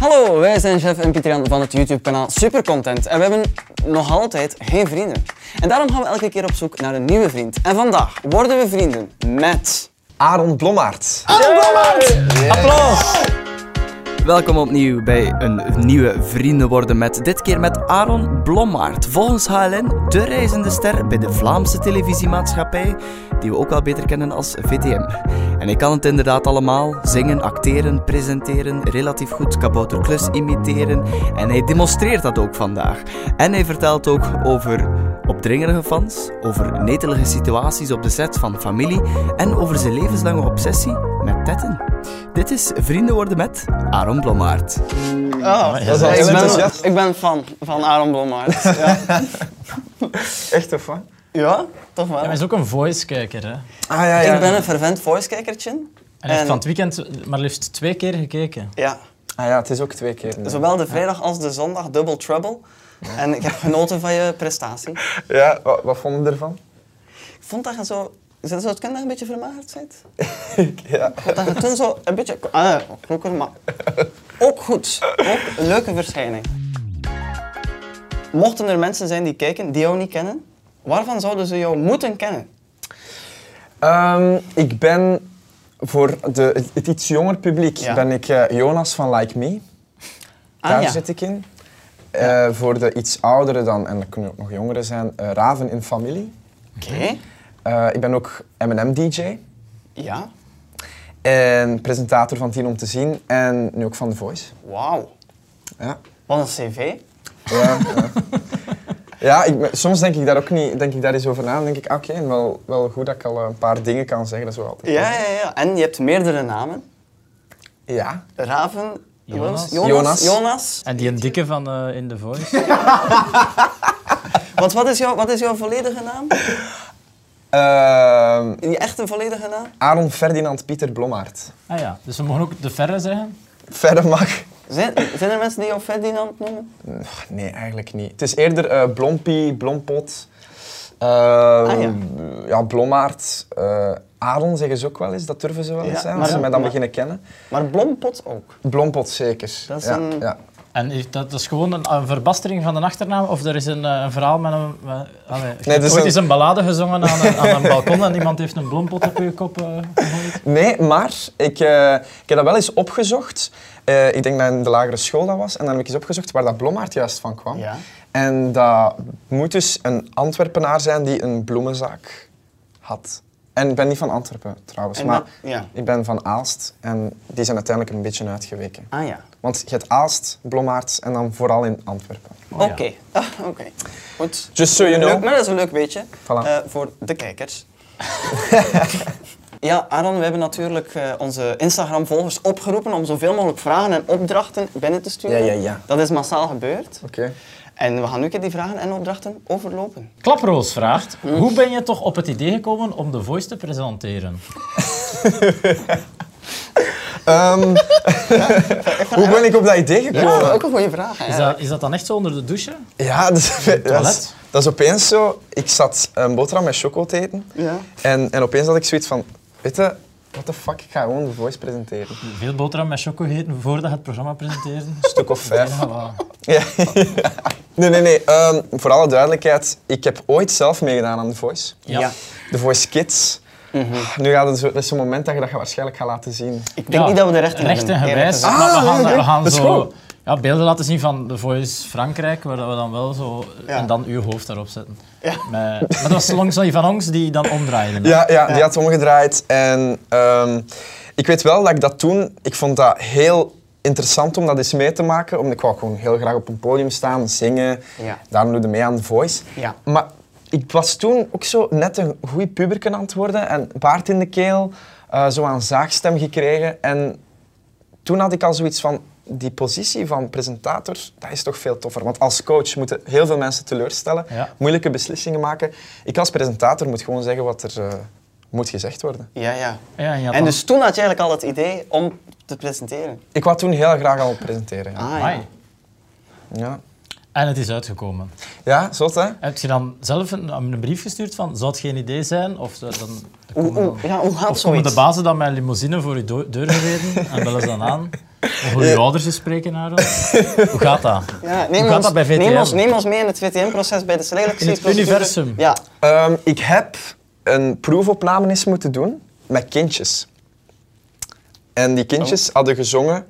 Hallo, wij zijn chef en Pietrian van het YouTube-kanaal Supercontent en we hebben nog altijd geen vrienden. En daarom gaan we elke keer op zoek naar een nieuwe vriend. En vandaag worden we vrienden met... Aaron Blommaert. Applaus! Welkom opnieuw bij een nieuwe Vrienden worden met, dit keer met Aaron Blommaert. Volgens HLN de reizende ster bij de Vlaamse televisiemaatschappij, die we ook wel beter kennen als VTM. En ik kan het inderdaad allemaal, zingen, acteren, presenteren, relatief goed kabouterklus imiteren. En hij demonstreert dat ook vandaag. En hij vertelt ook over opdringerige fans, over netelige situaties op de set van familie en over zijn levenslange obsessie met tetten. Dit is Vrienden worden met Aaron Blommaert. Dat is dus, al Ik heel ben, enthousiast. ik ben fan van Aaron Blommaert. Ja. Echt tof, hè? Ah, ja, toch wel. Hij is ook een voice-kijker. Hè? ja, ja. Ik ben een fervent voicekijkertje. En hij heeft van het weekend maar liefst twee keer gekeken. Ja, Ah ja, het is ook twee keer. nu. zowel de vrijdag als de zondag, double trouble. En ik heb genoten van je prestatie. Ja, wa- wat, vonden we ervan? Ik vond dat je zo... Zou het kunnen dat je een beetje vermagerd bent? Ja. Dat je toen zo een beetje... Ah, kroeker, maar... Ook goed. Ook een leuke verschijning. Mochten er mensen zijn die kijken, die jou niet kennen, waarvan zouden ze jou moeten kennen? Ehm, ik ben voor de, het, het iets jonger publiek Ja. ben ik eh, Jonas van Like Me. Daar Ah, ja. zit ik in. Eh, voor de iets ouderen dan, en dat kunnen ook nog jongeren zijn, eh, Raven in Familie. Oké. Eh, ik ben ook M&M-dj Ja. en presentator van Tien om te zien en nu ook van The Voice. Wauw. Ja. Wat een cv. Ja, ja. Ja, ik, ben- soms denk ik daar ook niet, denk ik daar eens over na. Dan denk ik, ah, oké, wel, wel goed dat ik al een paar dingen kan zeggen. Dat is wel altijd. Ja, ja, ja. En je hebt meerdere namen. Ja. Raven, Jonas. Jonas. Jonas. Jonas. Jonas. En die een dikke van eh, In The Voice. Want wat is, jouw, wat is jouw volledige naam? Ehm, Je echte volledige naam? Aaron Ferdinand Pieter Blommaert. Ah ja, dus we mogen ook de verre zeggen. Verder mag. Zijn, zijn er mensen die jou Ferdinand noemen? Pff, Nee, eigenlijk niet. Het is eerder eh Blompie, Blompot. eh, Ah, ja. ja, Blommaert. eh, Aaron zeggen ze ook wel eens, dat durven ze wel eens Ja, zijn, maar als ze ja, mij dan maar- beginnen kennen. Maar Blompot ook. Blompot zeker. Dat is ja, een- ja. En is dat, dat is gewoon een, een verbastering van de achternaam? Of er is een, eh, een verhaal met een... met- allee, je hebt dus ooit een- eens een ballade gezongen aan een, aan een balkon en iemand heeft een bloempot op je kop eh, gegooid? Nee, maar ik, eh, ik heb dat wel eens opgezocht. Eh, ik denk dat in de lagere school dat was. En dan heb ik eens opgezocht waar dat Blommaert juist van kwam. Ja. En dat moet dus een Antwerpenaar zijn die een bloemenzaak had. En ik ben niet van Antwerpen trouwens, En maar dat- ja. ik ben van Aalst. En die zijn uiteindelijk een beetje uitgeweken. Ah ja. Want je hebt Aalst, Blommaert en dan vooral in Antwerpen. Oké. ja. Ah, Oké. Goed. Just so you Leuk, know. maar dat is een leuk beetje Voilà. eh, voor de kijkers. ja, Aaron, we hebben natuurlijk eh, onze Instagram-volgers opgeroepen om zoveel mogelijk vragen en opdrachten binnen te sturen. Ja, ja, ja. Dat is massaal gebeurd. Oké. En we gaan nu een keer die vragen en opdrachten overlopen. Klaproos vraagt, hoe ben je toch op het idee gekomen om The Voice te presenteren? Ehm, hoe ben ik op dat idee gekomen? Ja, ook een goede vraag. Is dat, is dat dan echt zo onder de douche? Ja, dat is, dat, is, toilet? dat is opeens zo. Ik zat een boterham met choco te eten. Ja. En, en opeens had ik zoiets van, weet je, what the fuck, ik ga gewoon de voice presenteren. Een Veel boterham met choco gegeten voordat je het programma presenteerde. stuk of vijf. Ja, voilà. Ja. Nee, nee, nee. ehm, voor alle duidelijkheid, ik heb ooit zelf meegedaan aan The Voice. Ja. Ja. The Voice Kids. Ah, Nu gaat het zo, dat is zo'n moment dat je dat je waarschijnlijk gaat laten zien. Ik denk niet dat we de rechten rechten hebben. gewijs. eerlijk gezegd. maar we Ah, gaan, nee, we gaan dat is zo goed. ja, beelden laten zien van The Voice Frankrijk, waar dat we dan wel zo... Ja. En dan uw hoofd daarop zetten. Ja. Met- maar dat was Longson van ons die dan omdraaide. hè? Ja, ja, Ja. die had omgedraaid. En ehm, ik weet wel dat ik dat toen... Ik vond dat heel interessant om dat eens mee te maken. Omdat ik wou gewoon heel graag op een podium staan, zingen. Ja. Daarom doe je mee aan The Voice. Ja. Maar ik was toen ook zo net een goed puberken aan het worden. En baard in de keel. eh, zo aan zaagstem gekregen. En toen had ik al zoiets van... Die positie van presentator, dat is toch veel toffer. Want als coach moeten heel veel mensen teleurstellen, Ja. moeilijke beslissingen maken. Ik als presentator moet gewoon zeggen wat er eh, moet gezegd worden. Ja, ja. Ja, en je had En dan- dus toen had je eigenlijk al het idee om te presenteren. Ik wou toen heel graag al presenteren. Ja, Ah, ja. Amai. ja. En het is uitgekomen. ja zot hè? Heb je dan zelf een, een brief gestuurd van, zou het geen idee zijn? Of zou dan... Hoe, hoe, ja, hoe gaat Of komen zoiets? de bazen dan met een limousine voor je do- deur gereden en bellen ze dan aan? Of hoe je ouders eens spreken naar ons. Hoe gaat dat? Ja, Hoe neem, gaat ons, dat bij VTM? neem, ons, neem ons mee in het VTM-proces bij de selectieprocedure. universum. Ja. Ehm, ik heb een proefopname eens moeten doen met kindjes. En die kindjes hadden gezongen.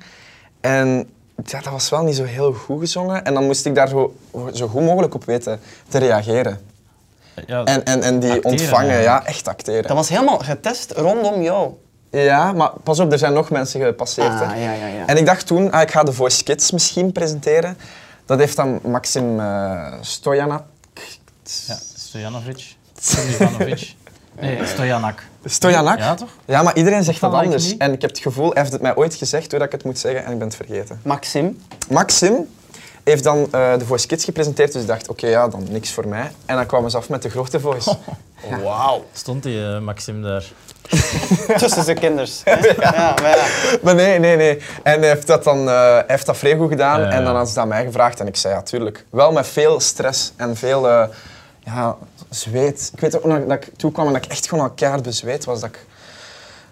En ja, dat was wel niet zo heel goed gezongen. En dan moest ik daar zo, zo goed mogelijk op weten te reageren. Ja, En, en, en die Acteren, ontvangen, ja, eigenlijk. echt acteren. Dat was helemaal getest rondom jou. Ja, maar pas op, er zijn nog mensen gepasseerd. Ah, hè. ja, ja, ja. En ik dacht toen, ah, ik ga de Voice Kids misschien presenteren. Dat heeft dan Maxim eh Stojana- ja, Stojanovic. Stojanovic. Nee, Stojanak. Stojanak. Ja, toch? Ja, maar iedereen zegt Dat dat lijkt me anders. niet. En ik heb het gevoel, hij heeft het mij ooit gezegd hoe dat ik het moet zeggen en ik ben het vergeten. Maxim. Maxim heeft dan eh, de Voice Kids gepresenteerd, dus ik dacht, oké, ja, dan niks voor mij. En dan kwamen ze af met de grote voice. Wauw. Stond die eh, Maxim daar? Tussen de kinders. hè? ja, maar ja. maar nee, nee, nee. En hij heeft dat dan eh, hij heeft dat vrij goed gedaan Ja, ja, en dan ja. had ze dat aan mij gevraagd en ik zei, ja, tuurlijk. Wel met veel stress en veel eh, ja, zweet. Ik weet ook nog dat ik toekwam en dat ik echt gewoon al keihard bezweet was. Dat ik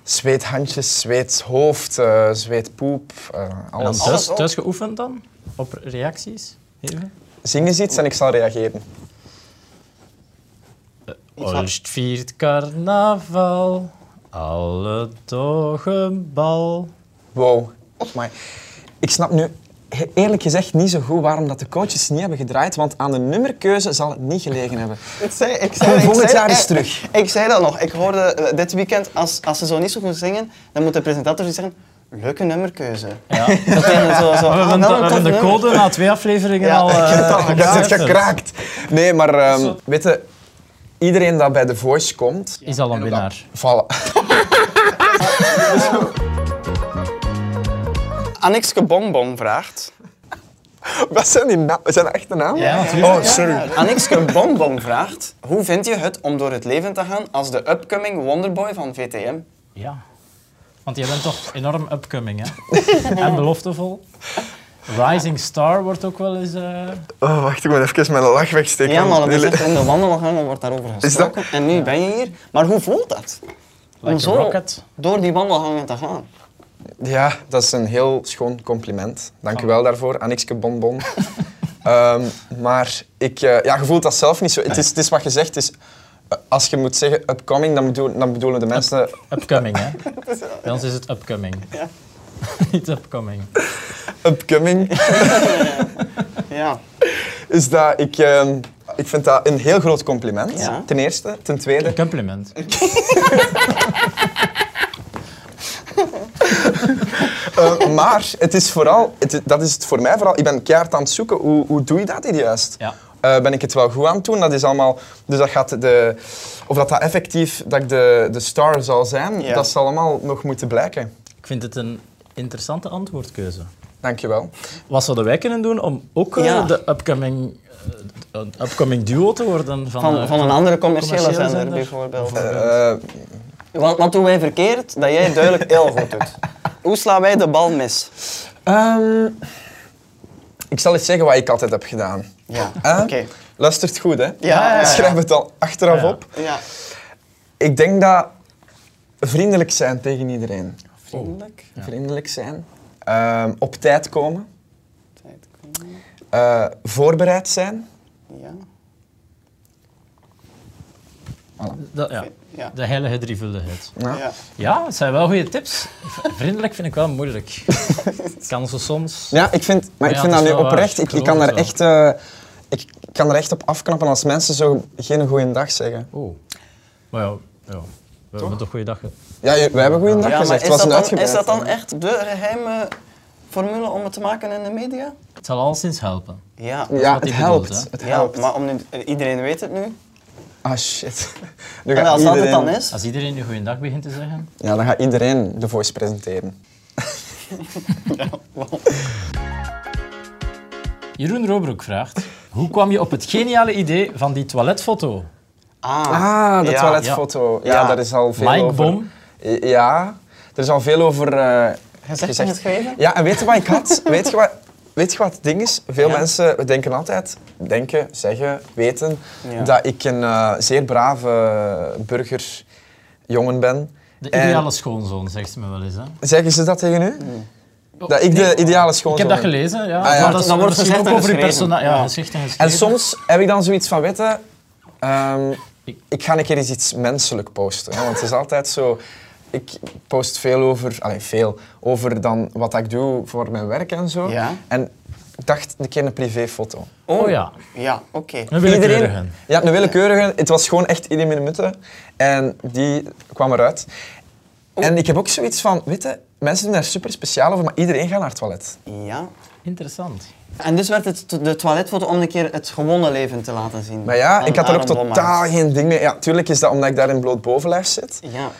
zweethandjes, zweethoofd, eh zweetpoep, eh, En dan alles. thuis, ook. thuis geoefend dan? Op reacties? Even? Zing eens iets en ik zal reageren. Olst viert carnaval, alle dagen bal. Wow. Oh Maar ik snap nu he- eerlijk gezegd niet zo goed waarom dat de coaches niet hebben gedraaid, want aan de nummerkeuze zal het niet gelegen hebben. Ik zei, ik zei, ik Volgend zei- jaar is ik- terug. Ik, zei dat nog. Ik hoorde eh, dit weekend, als, als ze zo niet zo goed zingen, dan moet de presentator zoiets zeggen, leuke nummerkeuze. Ja. Dat tegen zo, zo, We "Ah, wel hebben, de- een tof we hebben de nummer." code na twee afleveringen Ja, al... ik eh, heb het al Ik heb het gecijferd. gekraakt. Nee, maar ehm, weet je, iedereen dat bij The Voice komt... Is al een en ook winnaar. dat- Voilà. Annekske Bonbon vraagt. Wat zijn die na- Zijn dat echte namen? Ja, natuurlijk. Oh, sorry. Annekske Bonbon vraagt, hoe vind je het om door het leven te gaan als de upcoming wonderboy van VTM? Ja. Want jij bent toch enorm upcoming, hè? en beloftevol. Rising Star wordt ook wel eens... eh, Oh, wacht, ik moet even mijn lach wegsteken. Ja, maar dat is Jullie- echt in de wandelgangen wordt daarover dat- gesproken. En nu ben je hier. Maar hoe voelt dat? Like a rocket. door die wandelgangen te gaan. Ja, dat is een heel schoon compliment. Dank u Oh. wel daarvoor, Annixke Bonbon. Ehm, maar ik, eh, ja, je voelt dat zelf niet zo. Het is, het is wat je zegt. het is, eh, als je moet zeggen upcoming, dan, bedoel, dan bedoelen de mensen... upcoming, hè? Bij ons is het upcoming. Niet upcoming. Upcoming Ja. is dat ik... ehm, ik vind dat een heel groot compliment, Ja. ten eerste. Ten tweede, Een compliment. Eh, maar het is vooral, het- dat is het voor mij vooral, ik ben keihard aan het zoeken, hoe, hoe doe je dat hier juist? Ja. Eh, ben ik het wel goed aan het doen? Dat is allemaal, dus dat gaat de, of dat, dat effectief dat ik de, de star zal zijn, Ja. dat zal allemaal nog moeten blijken. Ik vind het een interessante antwoordkeuze. Dankjewel. Wat zouden wij kunnen doen om ook eh, Ja. de upcoming, eh, een upcoming duo te worden van, Van, eh, van een andere commerciële, commerciële zender, zender. bijvoorbeeld. Eh Want wat doen wij verkeerd? Dat jij duidelijk heel goed doet. Hoe slaan wij de bal mis? ehm, ik zal eens zeggen wat ik altijd heb gedaan. Ja. Eh? Oké. Luistert goed, hè? ja, ja. Schrijf het dan achteraf Ja. op. Ja. Ik denk dat vriendelijk zijn tegen iedereen. Oh, Vriendelijk. Vriendelijk zijn. Ehm, op tijd komen. Tijd komen. Eh, voorbereid zijn. Ja. Dat, ja. Ja. De heilige drievuldigheid. Ja. Ja. Ja, het zijn wel goede tips. V- Vriendelijk vind ik wel moeilijk. Het kan zo soms. Ja, ik vind, maar ik Ja, vind dat dat is nu wel waar. oprecht. Ik Ik, ik, geloof kan er het wel. echt, eh, ik kan er echt op afknappen als mensen zo geen goede dag zeggen. Oh. Maar ja, ja. we hebben toch goede dagen. Ja, je- wij hebben goede dag Ja, maar gezegd. is Het was dat, een dan, uitgebreid. is dat dan echt de geheime formule om het te maken in de media? Het zal alleszins helpen. Ja. Ja, wat het hij helpt. bedoelt, hè? het Ja, helpt. maar om nu, iedereen weet het nu. Ah, shit. Nu En gaat als dat het dan iedereen- is, Als iedereen nu goeiedag begint te zeggen. Ja, dan gaat iedereen de voice presenteren. Jeroen Robroek vraagt: Hoe kwam je op het geniale idee van die toiletfoto? Ah, de ja. toiletfoto. Ja, Ja. daar is al veel Mike over. Bom. Ja, er is al veel over eh, Gezegd en geschreven? Ja, en weet je wat ik had? weet, je wat, weet je wat het ding is? Veel mensen denken altijd, denken, zeggen, weten, Ja. dat ik een eh, zeer brave burgerjongen ben. De En- ideale schoonzoon, zegt ze me wel eens. Hè? Zeggen ze dat tegen u? Dat ik de ideale Ik heb schoonzoon dat ben. gelezen, ja. ja. Maar dat is Dan wordt misschien gezegd en ook over je geschreven. persona. Ja, Ja. geschrift en geschreven. En soms heb ik dan zoiets van, weten, Ik- ik, ik ga een keer eens iets menselijk posten. Hè, want het is altijd zo... Ik post veel over, alleen veel, over dan wat ik doe voor mijn werk en zo. Ja. En ik dacht een keer een privéfoto. Oh ja, Ja, oké. een willekeurige. Iedereen- Ja, een willekeurige. Het was gewoon echt iedereen minuten. En die kwam eruit. En ik heb ook zoiets van, weet je, mensen doen daar super speciaal over, maar iedereen gaat naar het toilet. Ja. Interessant. En dus werd het t- de toiletfoto om een keer het gewone leven te laten zien. Maar ja, van ik had er ook Aaron Bommaert. totaal geen ding mee. Ja, tuurlijk is dat omdat ik daar in bloot bovenlijf zit. Ja.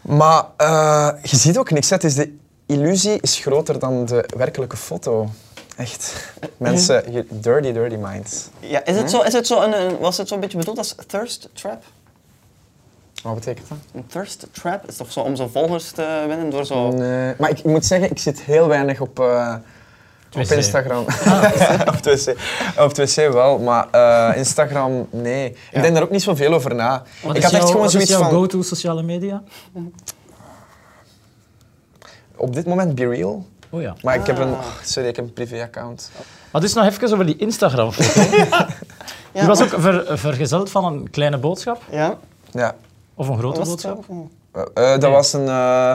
Maar eh, je ziet ook niks. hè. Het is de illusie is groter dan de werkelijke foto. Echt. Mensen, je- dirty, dirty minds. ja. Is het zo, is het zo een, een- was het zo'n beetje bedoeld als thirst trap? Wat betekent dat? Een thirst trap is toch zo om zo volgers te winnen door zo... Nee. Maar ik moet zeggen, ik zit heel weinig op, eh, op wc. Instagram. Ah. op, het wc. op het wc wel, maar eh, Instagram, nee. Ik denk daar ook niet zoveel over na. Wat ik is had echt jouw- gewoon wat is zoiets jouw van, go-to sociale media? op dit moment be real. Oh ja. Maar ik heb een, oh, sorry, ik heb een privé-account. Maar dus nog even over die Instagram-foto. die was ook ver- vergezeld van een kleine boodschap. Ja? Ja. Of een grote Was het boodschap. zo? Of- Eh, eh, dat was een. eh,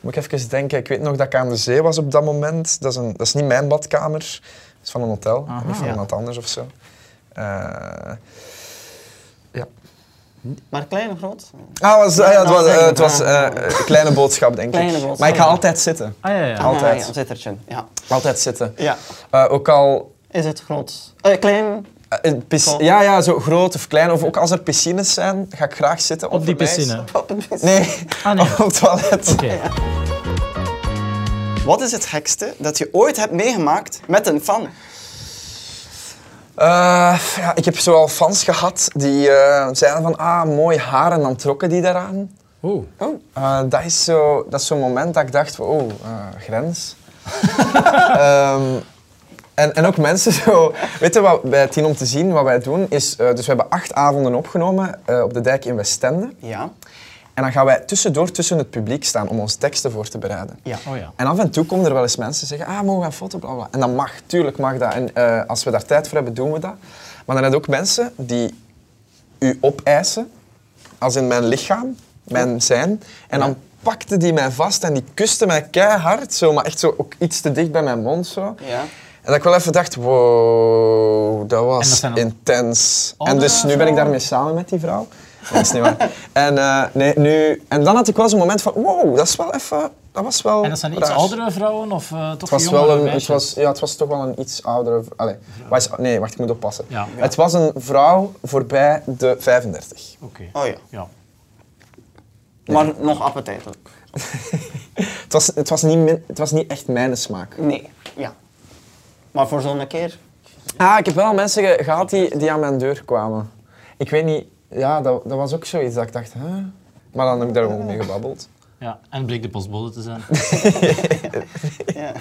moet ik even denken. Ik weet nog dat ik aan de zee was op dat moment. Dat is, een, dat is niet mijn badkamer. Dat is van een hotel. Aha. of van Ja. iemand anders of zo. Eh, ja. Maar klein of groot? Ah, was, ah, ja, het dat was, zeg ik eh, het maar. was eh, een kleine boodschap, denk Kleine ik. boodschap. Maar ik ga altijd zitten. Ah ja, Ah, ja. Altijd. Ja, een zittertje. Ja. Altijd zitten. ja. Eh, ook al. Is het groot? Eh, klein? eh, een pisc- Cool. ja, ja, zo groot of klein. Of ook als er piscines zijn, ga ik graag zitten. Op die een ijs. piscine. Op Oh, het minst. Nee, Ah nee. op het toilet. Oké. Wat is het gekste dat je ooit hebt meegemaakt met een fan? Eh, ja, ik heb zoal fans gehad die eh, zeiden van, ah, mooi haar en dan trokken die daaraan. Oeh. Oh. Eh, dat is zo- dat is zo'n moment dat ik dacht, van, oh, eh, grens. Ehm, en, en ook mensen zo, weet je wat bij Tien om te zien, wat wij doen is, eh, dus we hebben acht avonden opgenomen eh, op de dijk in Westende. Ja. En dan gaan wij tussendoor tussen het publiek staan om onze teksten voor te bereiden. Ja. Oh ja. En af en toe komen er wel eens mensen zeggen, ah, mogen we een foto, bla bla. En dat mag, tuurlijk mag dat. En eh, als we daar tijd voor hebben, doen we dat. Maar dan heb je ook mensen die u opeisen, als in mijn lichaam, mijn zijn. En dan pakte die mij vast en die kuste mij keihard, zo, maar echt zo ook iets te dicht bij mijn mond. Zo. Ja. En dat ik wel even dacht, wow, dat En dat was zijn dan Oh, intens. En andere dus nu ben ik daarmee samen met die vrouw. Dat is niet waar. En, eh, nee, nu, en dan had ik wel zo'n moment van, wow, dat is wel even... Dat was wel En dat zijn iets raar. oudere vrouwen of eh, toch Het was, jongere wel een, het, meisjes? was, ja, het was toch wel een iets oudere... v- Allee, was, nee, wacht, ik moet oppassen. Ja. Ja. Het was een vrouw voorbij de 35. Oké. Oh ja. Ja. Maar nog appetijtelijk. Het was, het was, niet, min- het was niet echt mijn smaak. Nee. Ja. Maar voor zo'n keer? Ah, ik heb wel mensen ge- gehad die, die aan mijn deur kwamen. Ik weet niet... Ja, dat, dat was ook zoiets dat ik dacht, hè? Maar dan heb ik daar gewoon mee gebabbeld. ja. En bleek de postbode te zijn. Ja.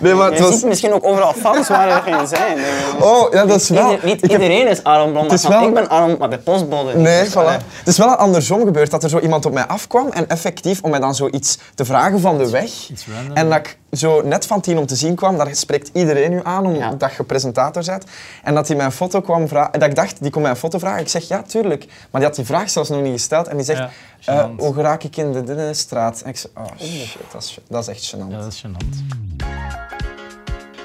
Nee, maar Je ziet misschien ook overal fans waar er geen zijn. denk ik. Oh, ja, dat is wel... Ieder- niet ik heb- iedereen is Aaron Blom. Het is wel- Ik ben Aaron, maar de postbode niet. Nee, Dus, voilà. eh, Het is wel andersom gebeurd, dat er zo iemand op mij afkwam en effectief om mij dan zoiets te vragen van de weg. iets random. En dat ik zo net van tien om te zien kwam, daar spreekt iedereen u aan Ja. omdat je presentator bent. En dat hij mijn foto kwam vragen, dat ik dacht, die komt mij een foto vragen. Ik zeg, ja, tuurlijk. Maar die had die vraag zelfs nog niet gesteld en die zegt, Ja, eh, gênant. hoe raak ik in de, de- de straat? En ik zeg, oh shit, dat is, dat is echt gênant. Ja, dat is gênant.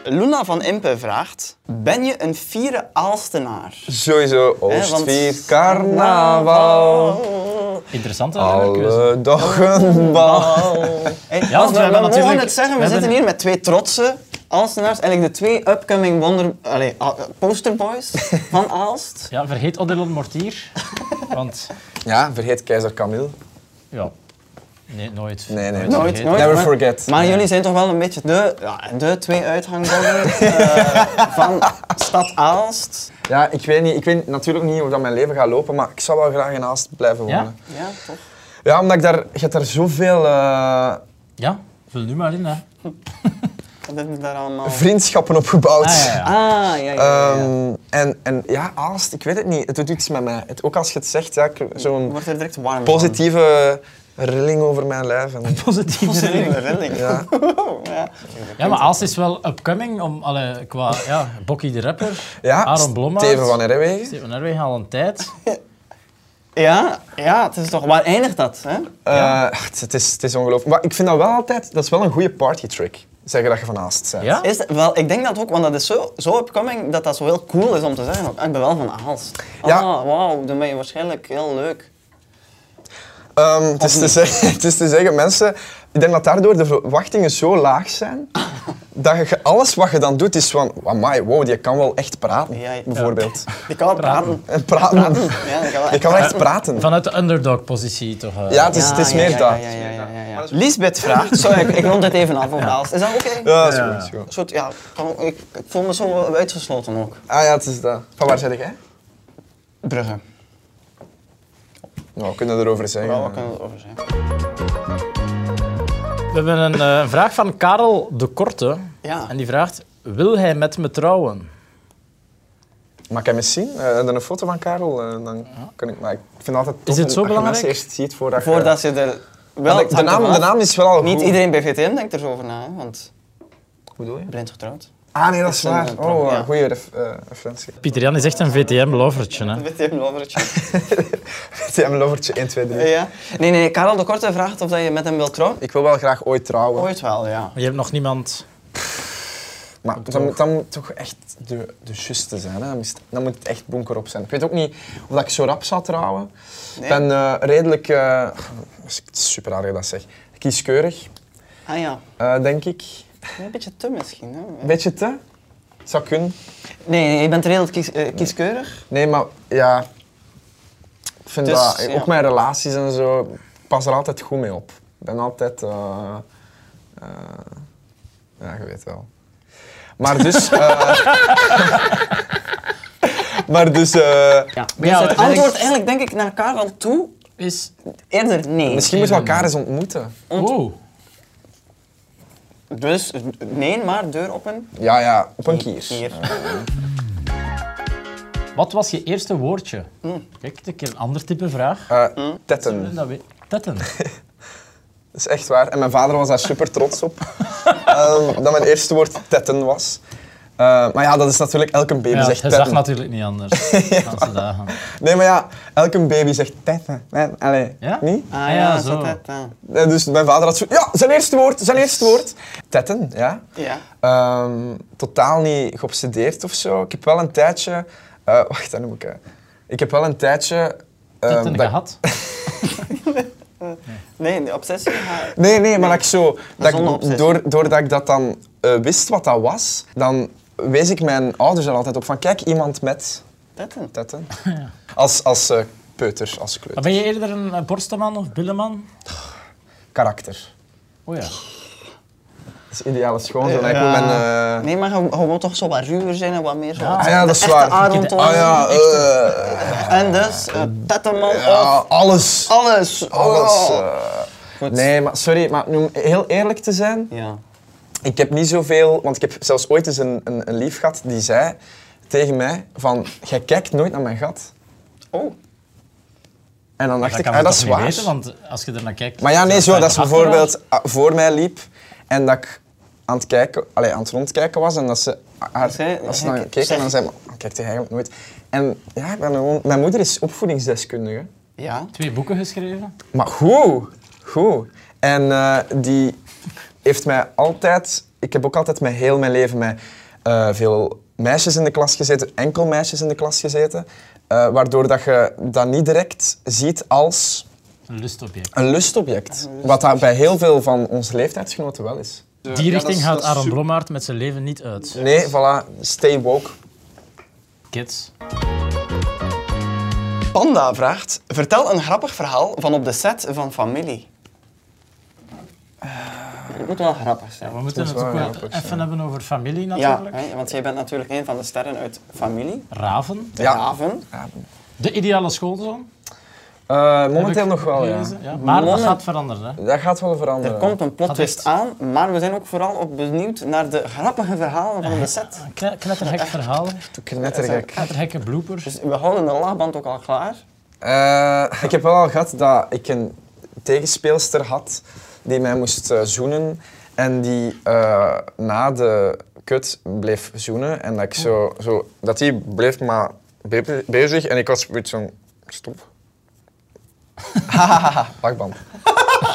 Luna van Impe vraagt, ben je een fiere Aalstenaar? Sowieso, Hè, want- Oostvier, carnaval, Interessante keuze. alle dagen bal. Hey, Ja, want we, we hebben we mogen natuurlijk- het zeggen, we, we zitten hebben- hier met twee trotse Aalstenaars. Eigenlijk de twee upcoming wonder, allee, a- posterboys van Aalst. Ja, vergeet Odilon Mortier. Want, Ja, vergeet keizer Camille. ja. Nee, nooit. Nee, nee. Nooit, vergeten. nooit. Never maar- forget. Maar jullie zijn toch wel een beetje de, ja, de twee uithangborden van stad Aalst. Ja, ik weet, niet, ik weet natuurlijk niet hoe dat mijn leven gaat lopen, maar ik zou wel graag in Aalst blijven Ja? wonen. Ja, Ja, toch? omdat ik daar, je hebt daar zoveel eh, Ja, vul nu maar in, hè. Ah, Wat hebben we daar allemaal? vriendschappen op gebouwd. Ah, ja, ja. Ah, ja, ja, ja. ja. Ehm, en, en ja, Aalst, ik weet het niet, het doet iets met mij. Het, ook als je het zegt, ja, ik- zo'n Wordt er direct warm van. positieve rilling over mijn lijf. En, Positieve ring. Rilling. ja. Ja. Ja, maar Aals is wel upcoming om, allee, qua ja, Bokkie de Rapper, ja, Aaron Blommaert. Steven van Herwegen. Steven Herwegen al een tijd. ja, ja, het is toch... Waar eindigt dat, hè? Eh, ach, het, is, het is ongelooflijk. Maar ik vind dat wel altijd, dat is wel een goede party trick. Zeggen dat je van Aalst bent. Ja? Is, wel, ik denk dat ook, want dat is zo, zo upcoming dat dat zo heel cool is om te zeggen. ook. Ah, Ik ben wel van Aals. Ja. Ah, wauw, dan ben je waarschijnlijk heel leuk. Ehm, het, is te zeggen, het is te zeggen, mensen, ik denk dat daardoor de verwachtingen zo laag zijn, dat je alles wat je dan doet is van, amai, wow, die kan wel echt praten, Ja, ja. bijvoorbeeld. Ik kan wel praten. En praten. Ja, ik kan wel Je echt kan wel echt praten. Vanuit de underdog-positie toch? eh? Ja, het is, het is Ja, meer ja, dat. Ja, ja, ja, ja, ja, ja. Lisbeth vraagt, sorry, ik, ik rond dit even af over Aals. Is dat oké? Ja, is goed, is goed. Een soort, ja, kan- ik, ik voel me zo uitgesloten ook. Ah ja, het is dat. Van waar zit jij? Brugge. Nou, we kunnen erover zeggen. Wel, wat kunnen we erover zeggen? We hebben een eh, vraag van Karel de Korte. Ja. En die vraagt, wil hij met me trouwen? Mag ik hem eens zien? Eh, dan een foto van Karel? eh, dan kan ik, maar ik vind altijd tof Is het zo dat je belangrijk? mensen eerst ziet voordat je- Voordat je er wel... Want ik- het de, hangt naam, ervan de af. naam is wel al Niet goed. iedereen bij VTM denkt er zo over na, hè, want Hoe bedoel je? blind getrouwd. Ah nee, dat is een, waar. eh, Oh, ja. eh, goeie ref- eh, referentie. Pieter Jan is echt een VTM-lovertje. hè? VTM-lovertje. Ja, mijn lovertje 1, 2, 3. ja. Nee, nee, Karel de Korte vraagt of dat je met hem wilt trouwen. Ik wil wel graag ooit trouwen. Ooit wel, ja. Maar je hebt nog niemand... Maar dan moet, dan moet toch echt de, de juiste zijn. Hè? Dan, is het- dan moet het echt bonker op zijn. Ik weet ook niet of dat ik zo rap zou trouwen. Nee. Ik ben eh, redelijk... eh, het is super raar dat ik dat zeg. Kieskeurig, Ah ja, eh, denk ik. een beetje te misschien. Hè? Een beetje te? Zou kunnen. Nee, nee, je bent redelijk kies- eh, kieskeurig. Nee, maar ja... Ik vind Dus, dat... ja. Ook mijn relaties en zo. ik Pas er altijd goed mee op. Ik ben altijd... eh, eh, ja, je weet wel. Maar dus... eh, maar dus... eh, Ja. Maar ja, Dus het maar- antwoord eigenlijk denk ik naar Karel toe Is... eerder nee. Misschien moeten we elkaar eens ontmoeten. Oeh. Dus eh, nee, maar deur open. Ja, ja, op een kier. Hier. Wat was je eerste woordje? Hm. Kijk, een keer een ander type vraag. Eh, Hm? tetten. Dat weet- Tetten. Dat is echt waar. En mijn vader was daar super trots op. Ehm, dat mijn eerste woord tetten was. Eh, maar ja, dat is natuurlijk... Elke baby Ja, zegt hij zag tetten. Ehm, natuurlijk niet anders. de laatste dagen. Nee, maar ja, elke baby zegt tetten. Nee, Allee, Ja? niet? Ah ja, ja, zo. zo. Dat, eh, Eh, Dus mijn vader had zo... Ja, zijn eerste woord, zijn eerste woord. Tetten, ja. ja. Ehm, totaal niet geobsedeerd of zo. Ik heb wel een tijdje... eh, wacht, dat noem ik... eh, Ik heb wel een tijdje... ehm, Tetten dat- gehad. Nee, de obsessie. ga- Nee, nee, maar dat ik zo... Dat zonder ik, obsessie. door, doordat ik dat dan eh, wist wat dat was, dan wees ik mijn ouders er altijd op van... Kijk, iemand met Dat een- tetten. Als, als eh, peuter, als Maar kleuter. ben je eerder een eh, borstenman of billenman? Karakter. Oh ja. Dat is ideale schoonzoon. Ik Ja. wil mijn... eh, Nee, maar je, je moet toch zo wat ruwer zijn en wat meer zo. Ah ja, dat is waar. Aaron Thomas. Ah ja, eh, En dus, eh, Tetterman ja, of alles. alles. Alles. Oh. eh. Goed. nee, maar sorry, maar om heel eerlijk te zijn, Ja. ik heb niet zoveel... Want ik heb zelfs ooit eens een, een, een lief gehad die zei tegen mij van... Jij kijkt nooit naar mijn gat. Oh. En dan dacht Dat ik, kan ah, je dat toch is niet waar. weten, want als je er naar kijkt... Maar ja, nee, zo, sta je dat ze erachter bijvoorbeeld ah, voor mij liep en dat ik aan het, kijken, allee, aan het rondkijken was en dat ze haar, Zij- dat ze hij- dan keek en dan zij- zei, maar kijk tegen eigenlijk nooit. En ja, ik ben gewoon, mijn moeder is opvoedingsdeskundige. Ja. Twee boeken geschreven. Maar goed, goed. En eh, die heeft mij altijd... Ik heb ook altijd mijn heel mijn leven met eh, veel meisjes in de klas gezeten, enkel meisjes in de klas gezeten, eh, waardoor dat je dat niet direct ziet als Een lustobject. een lustobject. Wat dat bij heel veel van onze leeftijdsgenoten wel is. Die richting gaat Aaron Blommaert met zijn leven niet uit. Nee, voilà, stay woke. Kids. Panda vraagt, vertel een grappig verhaal van op de set van Familie. het moet wel grappig zijn. Eh. We moeten is het wel ook wel grappig, ja. even hebben over familie Ja, natuurlijk. hè, want jij bent natuurlijk een van de sterren uit Familie. Raven. Ja. Raven. De ideale schoolzoon. Eh, heb momenteel ik nog wel, ja. gelezen. Maar dat Moment. gaat veranderen. Hè. Dat gaat wel veranderen. Er komt een plot Had twist het- aan, maar we zijn ook vooral ook benieuwd naar de grappige verhalen van de set. Kne- Knettergek verhaal. Knettergek. Knettergekke bloopers. Dus we houden de laagband ook al klaar. Eh, ik heb wel al gehad dat ik een tegenspeelster had die mij moest eh, zoenen en die eh, na de kut bleef zoenen en dat ik zo, zo dat die bleef maar be- bezig en ik was een beetje zo stop. Hahaha, Lachband.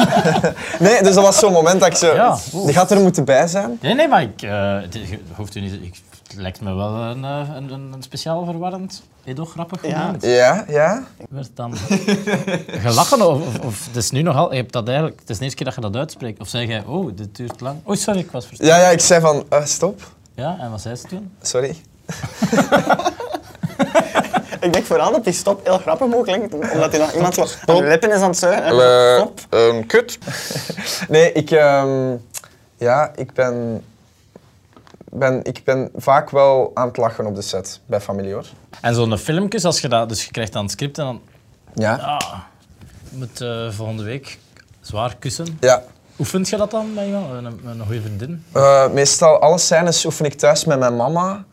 nee, dus dat was zo'n moment dat ik zo. Ja, oeh. Die gaat er moeten bij zijn. Nee, nee, maar ik, eh, het- je hoeft u niet, ik, het lijkt me wel een, eh, een, een, een speciaal verwarrend, eh, toch grappig Ja. moment. Ja, ja. Werd dan gelachen of, of, of het is nu nogal, je hebt dat eigenlijk, het is de eerste keer dat je dat uitspreekt. Of zeg jij, oh, dit duurt lang. Oh, sorry, ik was verstandig. Ja, ja, ik zei van eh, stop. Ja. en wat zei ze toen? Sorry. Ik denk vooral dat die stop heel grappig moet klinken, omdat hij nog iemand zo aan de lippen is aan het zuigen. en Eh, zo, Stop. ehm, kut. Nee, ik, ehm, ja, ik ben, ben, ik ben vaak wel aan het lachen op de set bij familie hoor. En zo'n filmpjes, als je dat, dus je krijgt dan het script en dan, Ja. ah, je moet eh, volgende week zwaar kussen. Ja. Oefent je dat dan bij iemand, een, een, een goede vriendin? Eh, meestal alle scènes oefen ik thuis met mijn mama.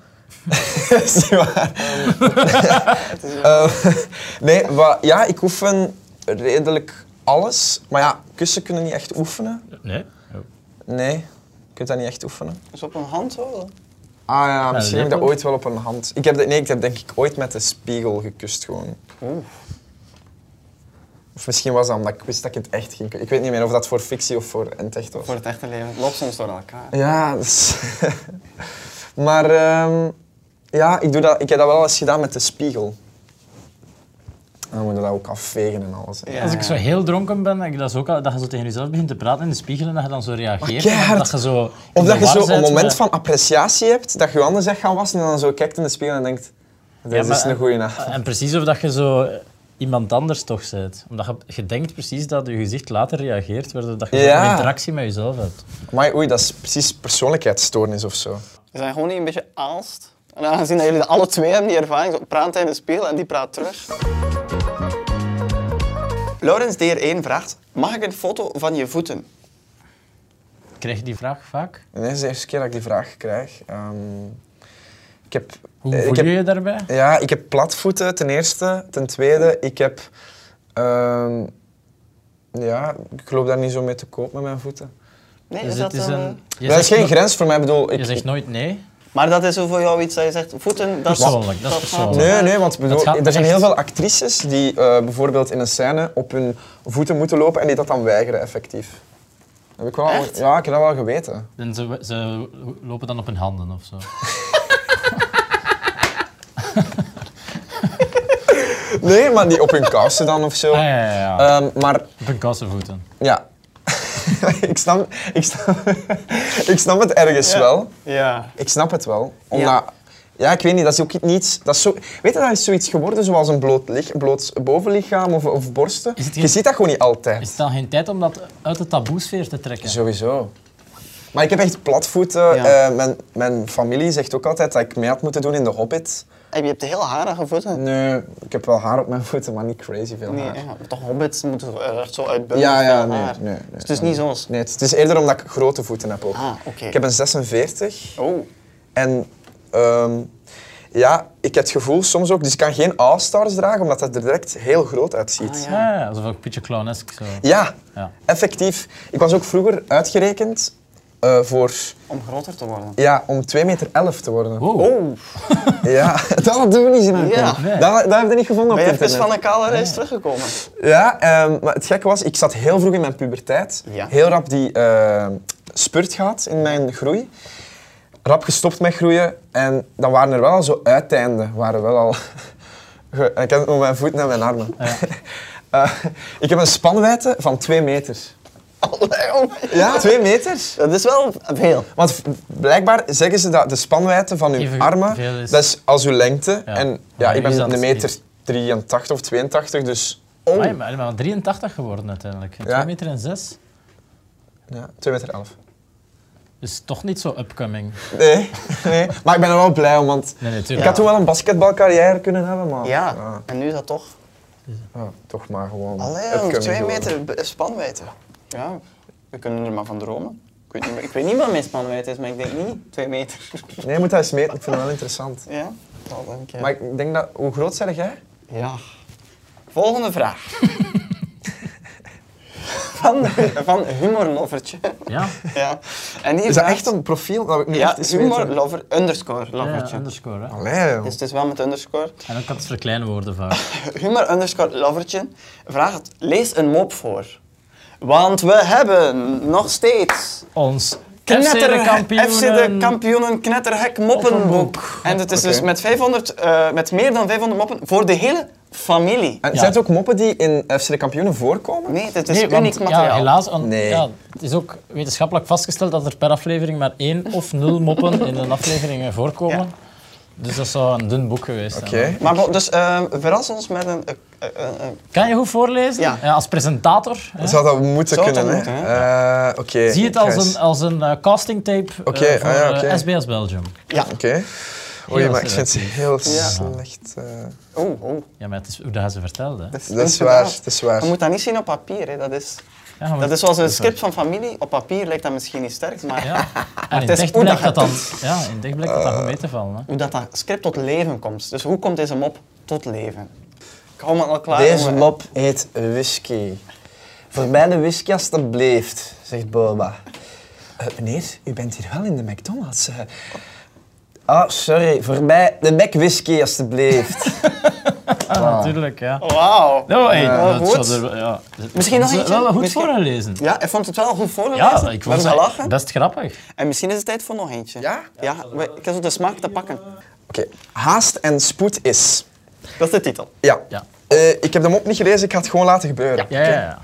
is niet waar. Eh, nee, wa- ja, ik oefen redelijk alles. Maar ja, kussen kunnen niet echt oefenen. Nee. Oh. Nee, je kunt dat niet echt oefenen. Zo dus op een hand zo. Ah ja, misschien heb ik dat lepel? ooit wel op een hand. Ik heb dat, nee, ik heb denk ik ooit met de spiegel gekust gewoon. Of misschien was dat omdat ik wist dat ik het echt ging ku- Ik weet niet meer of dat voor fictie of voor in het echt was. Voor het echte leven. Het loopt soms door elkaar. Ja, dat is- maar ehm, ja, ik, doe dat, ik heb dat wel eens gedaan met de spiegel. En dan moet je dat ook afvegen en alles. hè. Ja. Als ik zo heel dronken ben, dat, ik dat, is ook, al- dat je zo tegen jezelf begint te praten in de spiegel en dat je dan zo reageert. en Oh, keihard. dat je zo in de Of dat je war zo een bent, moment maar- van appreciatie hebt, dat je je handen zegt gaan wassen en dan zo kijkt in de spiegel en denkt... Dit Ja, maar- is een goeie naam. En precies of dat je zo eh, iemand anders toch bent. Omdat je, je denkt precies dat je gezicht later reageert, waardoor dat je Ja. zo'n interactie met jezelf hebt. Maar oei, dat is precies persoonlijkheidsstoornis of zo. Ze zijn gewoon niet een beetje aalst. En aangezien dat jullie dat alle twee hebben, die ervaring, zo praat hij in de spiegel en die praat terug. Laurens DR1 vraagt, mag ik een foto van je voeten? Krijg je die vraag vaak? En dit is de eerste keer dat ik die vraag krijg. Ehm, ik heb, Hoe eh, voel ik heb, je je daarbij? Ja, ik heb platvoeten ten eerste. Ten tweede, ik heb... ehm, ja, ik loop daar niet zo mee te koop met mijn voeten. Nee, Dus is het dat eh? is een... een... Je dat is geen no- grens voor mij. Ik bedoel, ik, Je zegt nooit nee. Maar dat is zo voor jou iets dat je zegt, voeten, dat is... Persoonlijk, dat is gaat- persoonlijk. Nee, nee, want bedoel, Het gaat er zijn echt- heel veel actrices die eh, bijvoorbeeld in een scène op hun voeten moeten lopen en die dat dan weigeren, effectief. Heb ik wel, Echt? Ja, ik heb dat wel geweten. En ze, ze lopen dan op hun handen of zo. Nee, maar die op hun kousen dan of zo. Ah, ja, ja, ja. Ehm, maar Op hun kassenvoeten. Ja. ik, snap, ik, snap, ik snap het ergens wel. Ja. Ik snap het wel. Ja. Omdat, ja. ik weet niet, dat is ook niet... Dat is zo, weet je, dat is zoiets geworden zoals een bloot, lich, bloot bovenlichaam of, of borsten. Is het Je geen- ziet dat gewoon niet altijd. Is het dan geen tijd om dat uit de taboesfeer te trekken? Sowieso. Maar ik heb echt platvoeten. Ja. Eh, mijn, mijn familie zegt ook altijd dat ik mee had moeten doen in de Hobbit. En je hebt heel harige voeten. Nee, ik heb wel haar op mijn voeten, maar niet crazy veel Nee, haar. ja, toch hobbits moeten zo- echt zo uitbundig Ja, ja, veel nee, haar. nee, nee. Dus het is niet zoals... Nee, het het is eerder omdat ik grote voeten heb ook. Ah, oké. Ik heb een 46. Oh. En ehm, ja, ik heb het gevoel soms ook, dus ik kan geen All-Stars dragen omdat dat er direct heel groot uitziet. Ah, Ja, ja. ja, alsof ik een beetje clownesk zo. ja. Ja. effectief. Ik was ook vroeger uitgerekend eh, voor, Om groter te worden. ja, om 2,11 meter te worden. Wow. Oh. Ja, dat hadden we niet zien aankomen. Ja. Nee. Dat, dat heb je niet gevonden Ben op je even internet. van een kale reis teruggekomen? Ja, ehm, maar het gekke was, ik zat heel vroeg in mijn puberteit. Ja. Heel rap die eh, spurt gehad in mijn groei. Rap gestopt met groeien. En dan waren er wel al zo uiteinden. Waren wel al... ge- ik heb het met mijn voeten en mijn armen. Eh, ik heb een spanwijdte van twee meter. Allee, oh. Ja, twee meter? Dat is wel veel. Want v- blijkbaar zeggen ze dat de spanwijdte van uw Even armen, veel is- dat is als uw lengte. Ja. En ja, Maar ik nu is ben dat dus een meter iets. 83 of 82, dus... Maar je bent maar 83 geworden uiteindelijk. 2 meter en 6. Ja, 2 meter 11. Dus toch niet zo upcoming. Nee, nee, maar ik ben er wel blij om, want Nee, ik natuurlijk. had toen wel een basketbalcarrière kunnen hebben, maar Ja, en nu is dat toch? ja, toch maar gewoon. Allee, upcoming joh, twee geworden. meter b- spanwijdte. Ja, we kunnen er maar van dromen. Ik weet niet, meer- ik weet niet wat mijn spanwijdte is, maar ik denk niet twee meter. Nee, je moet dat eens meten, ik vind het wel interessant. Ja, Oh, dat denk ik. Maar ik denk dat, hoe groot zijn jij? Ja. Volgende vraag. van, van humorlovertje. Ja, Ja. En die Is dat vraagt- echt een profiel? Dat we nu Ja, echt eens weten. humorlover, underscore ja, lovertje. underscore. Hè. Allee, joh. Dus het is wel met underscore. En dan kan het verkleinwoorden vaak. Humor underscore lovertje vraagt, lees een mop voor. Want we hebben nog steeds Ons Knetter, knetterkampioen. FC de kampioenen knetterhek moppenboek. En het is dus Oké. met, 500, eh, met meer dan 500 moppen voor de hele familie. En Ja. zijn het ook moppen die in FC de Kampioenen voorkomen? Nee, het is Nee, want, uniek materiaal. Ja, helaas. want, Nee. ja, het is ook wetenschappelijk vastgesteld dat er per aflevering maar één of nul moppen in een aflevering voorkomen. Dus dat zou een dun boek geweest Oké. zijn. Maar bon, dus eh, verras ons met een... eh, eh, eh, eh, Kan je goed voorlezen? Ja. als presentator. hè? Zou dat moeten Zou dat kunnen, moeten, hè? Eh, Oké. Zie het Gijs. als een, als een eh, casting tape eh, Oké, ah voor ja, eh, oké. SBS Belgium. ja, Oké. Oei, Heel maar ik vind het heel Ja. slecht. eh. oh, oh. Ja, maar het is hoe dat hij ze vertelde. hè. is, Dat is inderdaad. waar, dat is waar. Je moet dat niet zien op papier. Hè. Dat, is, Ja, maar- dat is zoals een waar. script van familie. Op papier lijkt dat misschien niet sterk, maar Ja. En in is dicht hoe dat blijkt dat dan, gaat. ja, in dicht blijkt dat Ah. dan goed mee te vallen. Hè. hoe dat, dat script tot leven komt. Dus hoe komt deze mop tot leven? Ik hou me al klaar. Deze jongen. mop heet whisky. Voor mij de whisky alstublieft, zegt Boba. Eh, meneer, u bent hier wel in de McDonald's. eh. Ah, sorry, voor mij de Mac whisky alstublieft. Ah, natuurlijk, ja. Wauw. Nou, hey, Ja, dat goed. zou er- ja. Misschien nog Dat is eentje? Wel goed Misschien- voorgelezen. Ja, ik vond het wel goed voorgelezen. Ja, ik We hebben vond gelachen. het best grappig. En misschien is het tijd voor nog eentje. Ja? Ja, we- ik heb zo de smaak te pakken. Oké. Haast en spoed is. Dat is de titel. Ja. Ja. Eh, ik heb de mop niet gelezen, ik ga het gewoon laten gebeuren. Ja, ja, ja.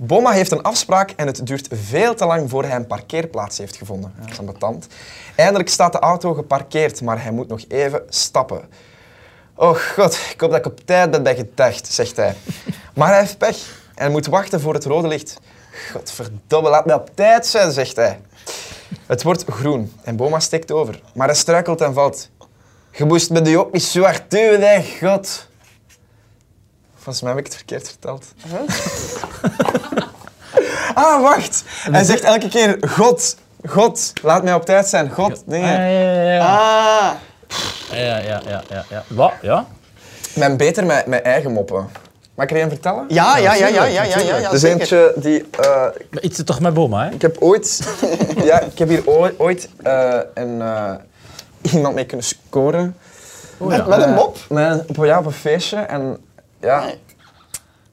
Boma heeft een afspraak en het duurt veel te lang voor hij een parkeerplaats heeft gevonden. Dat is een betant. Eindelijk staat de auto geparkeerd, maar hij moet nog even stappen. Oh god, ik hoop dat ik op tijd ben bij gedacht, zegt hij. Maar hij heeft pech en moet wachten voor het rode licht. Godverdomme, laat mij op tijd zijn, zegt hij. Het wordt groen en Boma steekt over, maar hij struikelt en valt. Je moest me nu ook niet zo hard duwen, hè, god. Volgens mij heb ik het verkeerd verteld. Ah, wacht. Hij zegt elke keer, God, God, laat mij op tijd zijn. God, Ja, dingen. ja, ja, ja. Ah, Ja, ja, ja, ja, ja. Wat? Ja? Men beter met mijn eigen moppen. Mag ik er een vertellen? ja, ja, ja, ja, ja, ja, ja, Tuurlijk. ja dus zeker. eentje die... eh, Maar iets toch met Boma, hè? ik heb ooit... ja, ik heb hier ooi- ooit eh, een, eh, iemand mee kunnen scoren. Eh, Oh, ja. Met een mop? Met, op, ja, op een feestje. En ja,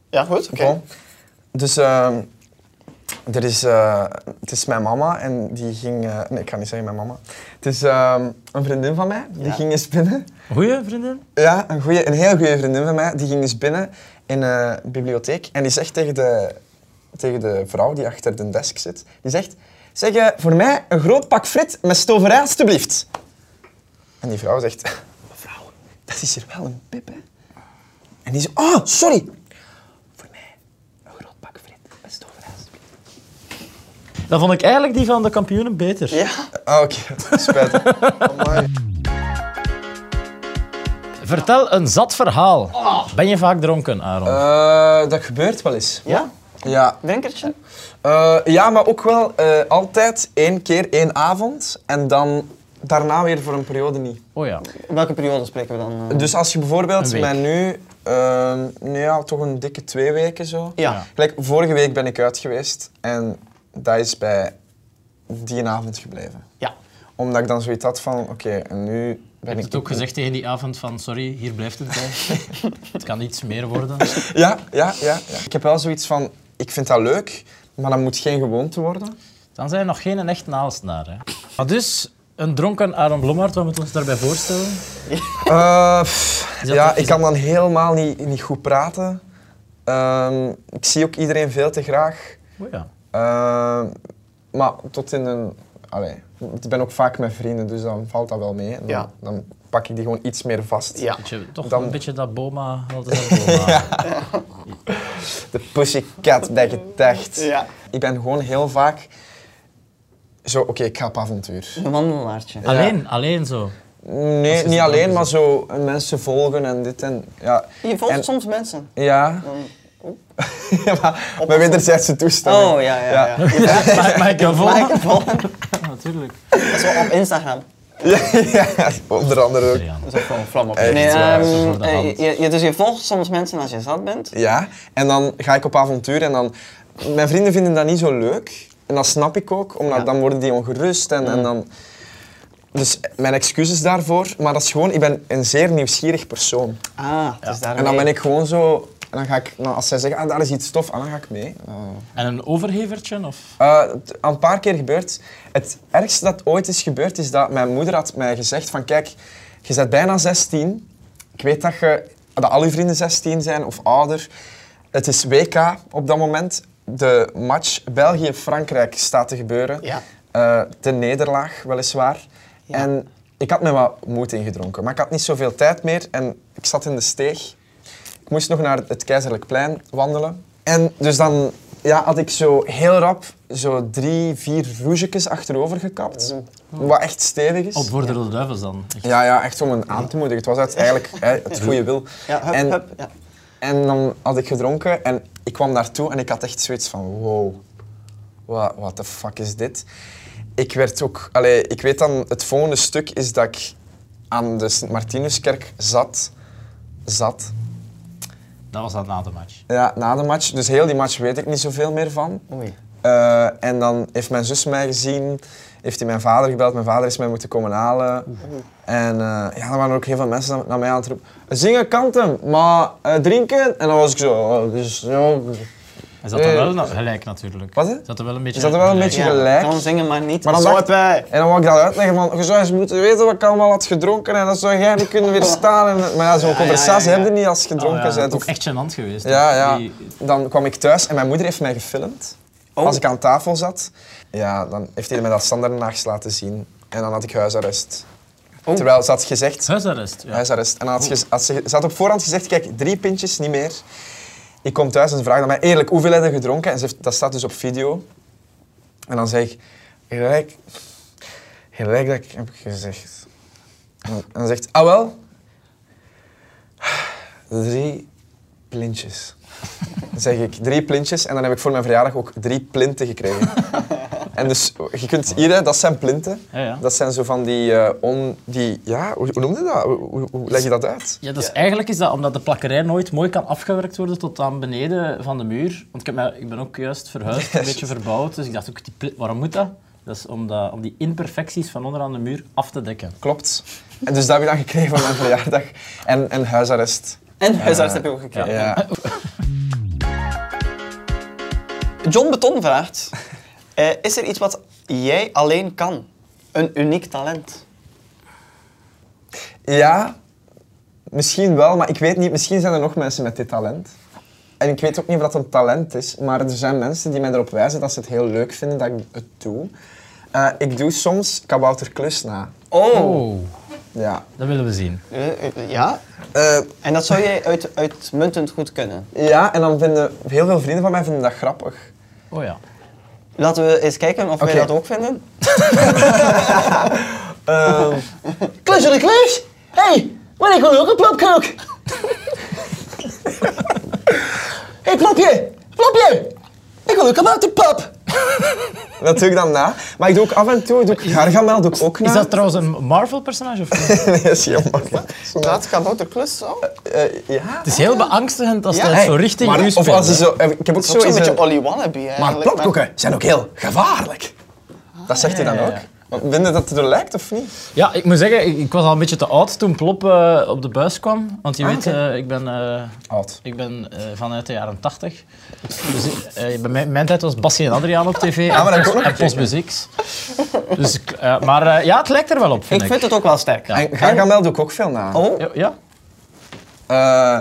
Ja, goed, oké. Bon. Dus ehm, er is, eh, het is mijn mama en die ging... eh, nee, ik ga niet zeggen mijn mama. Het is ehm, een vriendin van mij, die Ja. ging eens binnen. Goeie vriendin? Ja, een, goeie, een heel goede vriendin van mij, die ging eens binnen in eh, een bibliotheek en die zegt tegen de, tegen de vrouw die achter de desk zit, die zegt, zeg eh, voor mij een groot pak frit met stoverij alstublieft. En die vrouw zegt, mevrouw, dat is hier wel een pip, hè? En die zegt, oh, sorry, voor mij een groot pak frit met stoverij alstublieft. Dat vond ik eigenlijk die van de kampioenen beter. Ja, Ah, oké, spijtig. Amai. Vertel een zat verhaal. Ben je vaak dronken, Aaron? Eh, dat gebeurt wel eens. ja, Ja, drinkertje. Eh, ja, maar ook wel eh, altijd één keer één avond en dan daarna weer voor een periode niet. oh ja. Welke periode spreken we dan? eh? Dus als je Een bijvoorbeeld week. mij nu, eh, nee, ja, toch een dikke twee weken zo. ja. Gelijk, vorige week ben ik uit geweest en dat is bij die avond gebleven. Ja. Omdat ik dan zoiets had van, oké, en nu ben Heb ik... je het ook gezegd tegen die avond van sorry, hier blijft het bij. het kan iets meer worden. Ja, ja, ja, ja. Ik heb wel zoiets van, ik vind dat leuk, maar dat moet geen gewoonte worden. Dan zijn we nog geen echt naalsnaar. Hè. Maar dus, een dronken Aaron Blommaert, wat moeten we ons daarbij voorstellen? Eh, pff, Is dat ja, ook- is ik kan dan helemaal niet, niet goed praten. Ehm, ik zie ook iedereen veel te graag. Oh ja. Ehm, maar tot in een... Allee, ik ben ook vaak met vrienden, dus dan valt dat wel mee. Dan, Ja. dan pak ik die gewoon iets meer vast. Ja. Beetje, toch Dan- een beetje dat Boma. Wat is dat Boma? ja. De pussycat bij gedacht. Ja. Ik ben gewoon heel vaak... Zo, oké, ik ga op avontuur. Een wandelaartje. Alleen, alleen zo. Nee, niet alleen, dus maar zo eh, mensen volgen en dit en... Ja. Je volgt En- soms mensen. Ja. Mm. ja maar bij wederzijdse toestemming. Oh, ja, ja, ja. Ja, Mag mag ik jou volgen? Ja, Natuurlijk. Zo op Instagram. ja, onder andere ook. Jan. Dat is ook gewoon een vlam op. Echt nee, waar, ehm, zo voor de hand. eh, je, je- dus je volgt soms mensen als je zat bent. Ja, en dan ga ik op avontuur en dan mijn vrienden vinden dat niet zo leuk. En dat snap ik ook, omdat dan worden die ongerust en, Mm. en dan... Dus mijn excuses daarvoor, maar dat is gewoon, ik ben een zeer nieuwsgierig persoon. Ah, dus daarmee... En dan ben ik gewoon zo, en dan ga ik, nou, als zij zeggen, ah, daar is iets tof, ah, dan ga ik mee. Eh, En een overhevertje? Of? eh, het- al een paar keer gebeurd. Het ergste dat ooit is gebeurd is dat mijn moeder had mij gezegd van kijk, je bent bijna 16. Ik weet dat, je, dat al je vrienden 16 zijn of ouder. Het is WK op dat moment. De match België-Frankrijk staat te gebeuren. Ja. Eh, de nederlaag, weliswaar. Ja. En ik had me wat moed ingedronken, maar ik had niet zoveel tijd meer en ik zat in de steeg. Ik moest nog naar het Keizerlijk Plein wandelen. En dus dan ja, had ik zo heel rap zo drie, vier roezetjes achterover gekapt. Wat echt stevig is. Op voor de Rode Duivels dan? Echt. Ja, ja, echt om een aan te moedigen. Het was uit- eigenlijk hè, het goede wil. Ja, hup, en, hup. Ja. en dan had ik gedronken en ik kwam daartoe en ik had echt zoiets van wow, wa- what the fuck is dit? Ik werd ook, allee, ik weet dan, het volgende stuk is dat ik aan de Sint-Martinuskerk zat, zat, Dat was dat na de match. ja, na de match. Dus heel die match weet ik niet zoveel meer van. Oei. Eh, en dan heeft mijn zus mij gezien, heeft hij mijn vader gebeld, mijn vader is mij moeten komen halen. En eh, ja, er waren ook heel veel mensen naar mij aan het roepen. Zingen kan hem, maar eh, drinken? En dan was ik zo, oh, dus, ja. Hij zat er Eh, wel na- gelijk natuurlijk. Wat, hè? Zat er wel een beetje Zat er wel een gelijk. beetje gelijk. Kan zingen, maar niet. Maar dan dacht- bij. En dan wou ik dat uitleggen van, je zou eens moeten weten wat ik allemaal had gedronken en dat zou jij niet kunnen weerstaan. En, maar ja, zo'n conversatie ja. heb je niet als je Oh, ja, dronken dat is bent. ook Of, echt gênant geweest. hè. ja, ja. Die- Dan kwam ik thuis en mijn moeder heeft mij gefilmd. Oh. Als ik aan tafel zat, ja, dan heeft hij mij dat standaardnaags laten zien. En dan had ik huisarrest. Terwijl ze had gezegd, Huisarrest. Ja. huisarrest. En dan had, ge- had ze, ze had op voorhand gezegd, kijk, drie pintjes, niet meer. Ik kom thuis en ze vraagt aan mij, eerlijk, hoeveel heb je gedronken? En ze heeft, dat staat dus op video. En dan zeg ik, gelijk, gelijk dat ik heb gezegd. En dan- en dan zegt, ah wel, drie plintjes. Dan zeg ik drie plintjes en dan heb ik voor mijn verjaardag ook drie plinten gekregen. En dus, je kunt hier, hè, dat zijn plinten. Ja, ja. Dat zijn zo van die, eh, on, die ja, hoe, hoe noem je dat? Hoe, hoe- hoe leg je dat uit? Ja, dus eigenlijk is dat omdat de plakkerij nooit mooi kan afgewerkt worden tot aan beneden van de muur. Want ik, heb mij, ik ben ook juist verhuisd, een beetje verbouwd, dus ik dacht ook, die pli- waarom moet dat? Dat is om, dat, om die imperfecties van onderaan de muur af te dekken. Klopt. En dus dat heb ik dan gekregen van mijn verjaardag. En, en huisarrest. En huisarts heb je ook gekregen. Ja. John Beton vraagt: eh, Is er iets wat jij alleen kan? Een uniek talent? ja, misschien wel, maar ik weet niet. Misschien zijn er nog mensen met dit talent. En ik weet ook niet of dat een talent is, maar er zijn mensen die mij erop wijzen dat ze het heel leuk vinden dat ik het doe. Eh, ik doe soms kabouterklus na. Oh, Ja. Dat willen we zien. Eh, eh, ja. Eh, En dat zou jij uit, uitmuntend goed kunnen. ja, en dan vinden heel veel vrienden van mij vinden dat grappig. Oh ja. Laten we eens kijken of wij Oké. dat ook vinden. Klus de klus! hey, maar ik wil ook een plopkook! hey, plopje! Plopje! Ik wil ook een waterpap! Dat doe ik dan na. Maar ik doe ook af en toe, doe ik gargamel doe ik ook na. Is dat trouwens een Marvel-personage of niet? Nee, dat is heel makkelijk. Dat gaat ook de klus zo. Eh, ja. Het is heel beangstigend als Ja, dat hey, zo richting Maar- u of speelt. als ze zo, eh, ik heb ook Zo'n zo eens beetje een, Olly Wannabe Maar eigenlijk. plopkoeken zijn ook heel gevaarlijk. Dat zegt hij ja, dan ja, ook. Want Vinden dat het er lijkt of niet? Ja, ik moet zeggen, ik, ik was al een beetje te oud toen Plop eh, op de buis kwam. Want je Ah, weet, oké. eh, ik ben... eh, Oud. Ik ben eh, vanuit de jaren 80. Dus ik- eh, bij mijn, mijn tijd was Bassie en Adriaan op tv Ah, maar dat en, heb ik ook Post- nog en Postbus X. Dus, ik- eh, maar eh, ja, het lijkt er wel op, vind Ik ik. vind het ook wel sterk. Ja. En gargamel doe ik ook veel na. Oh, Ja, ja. Eh,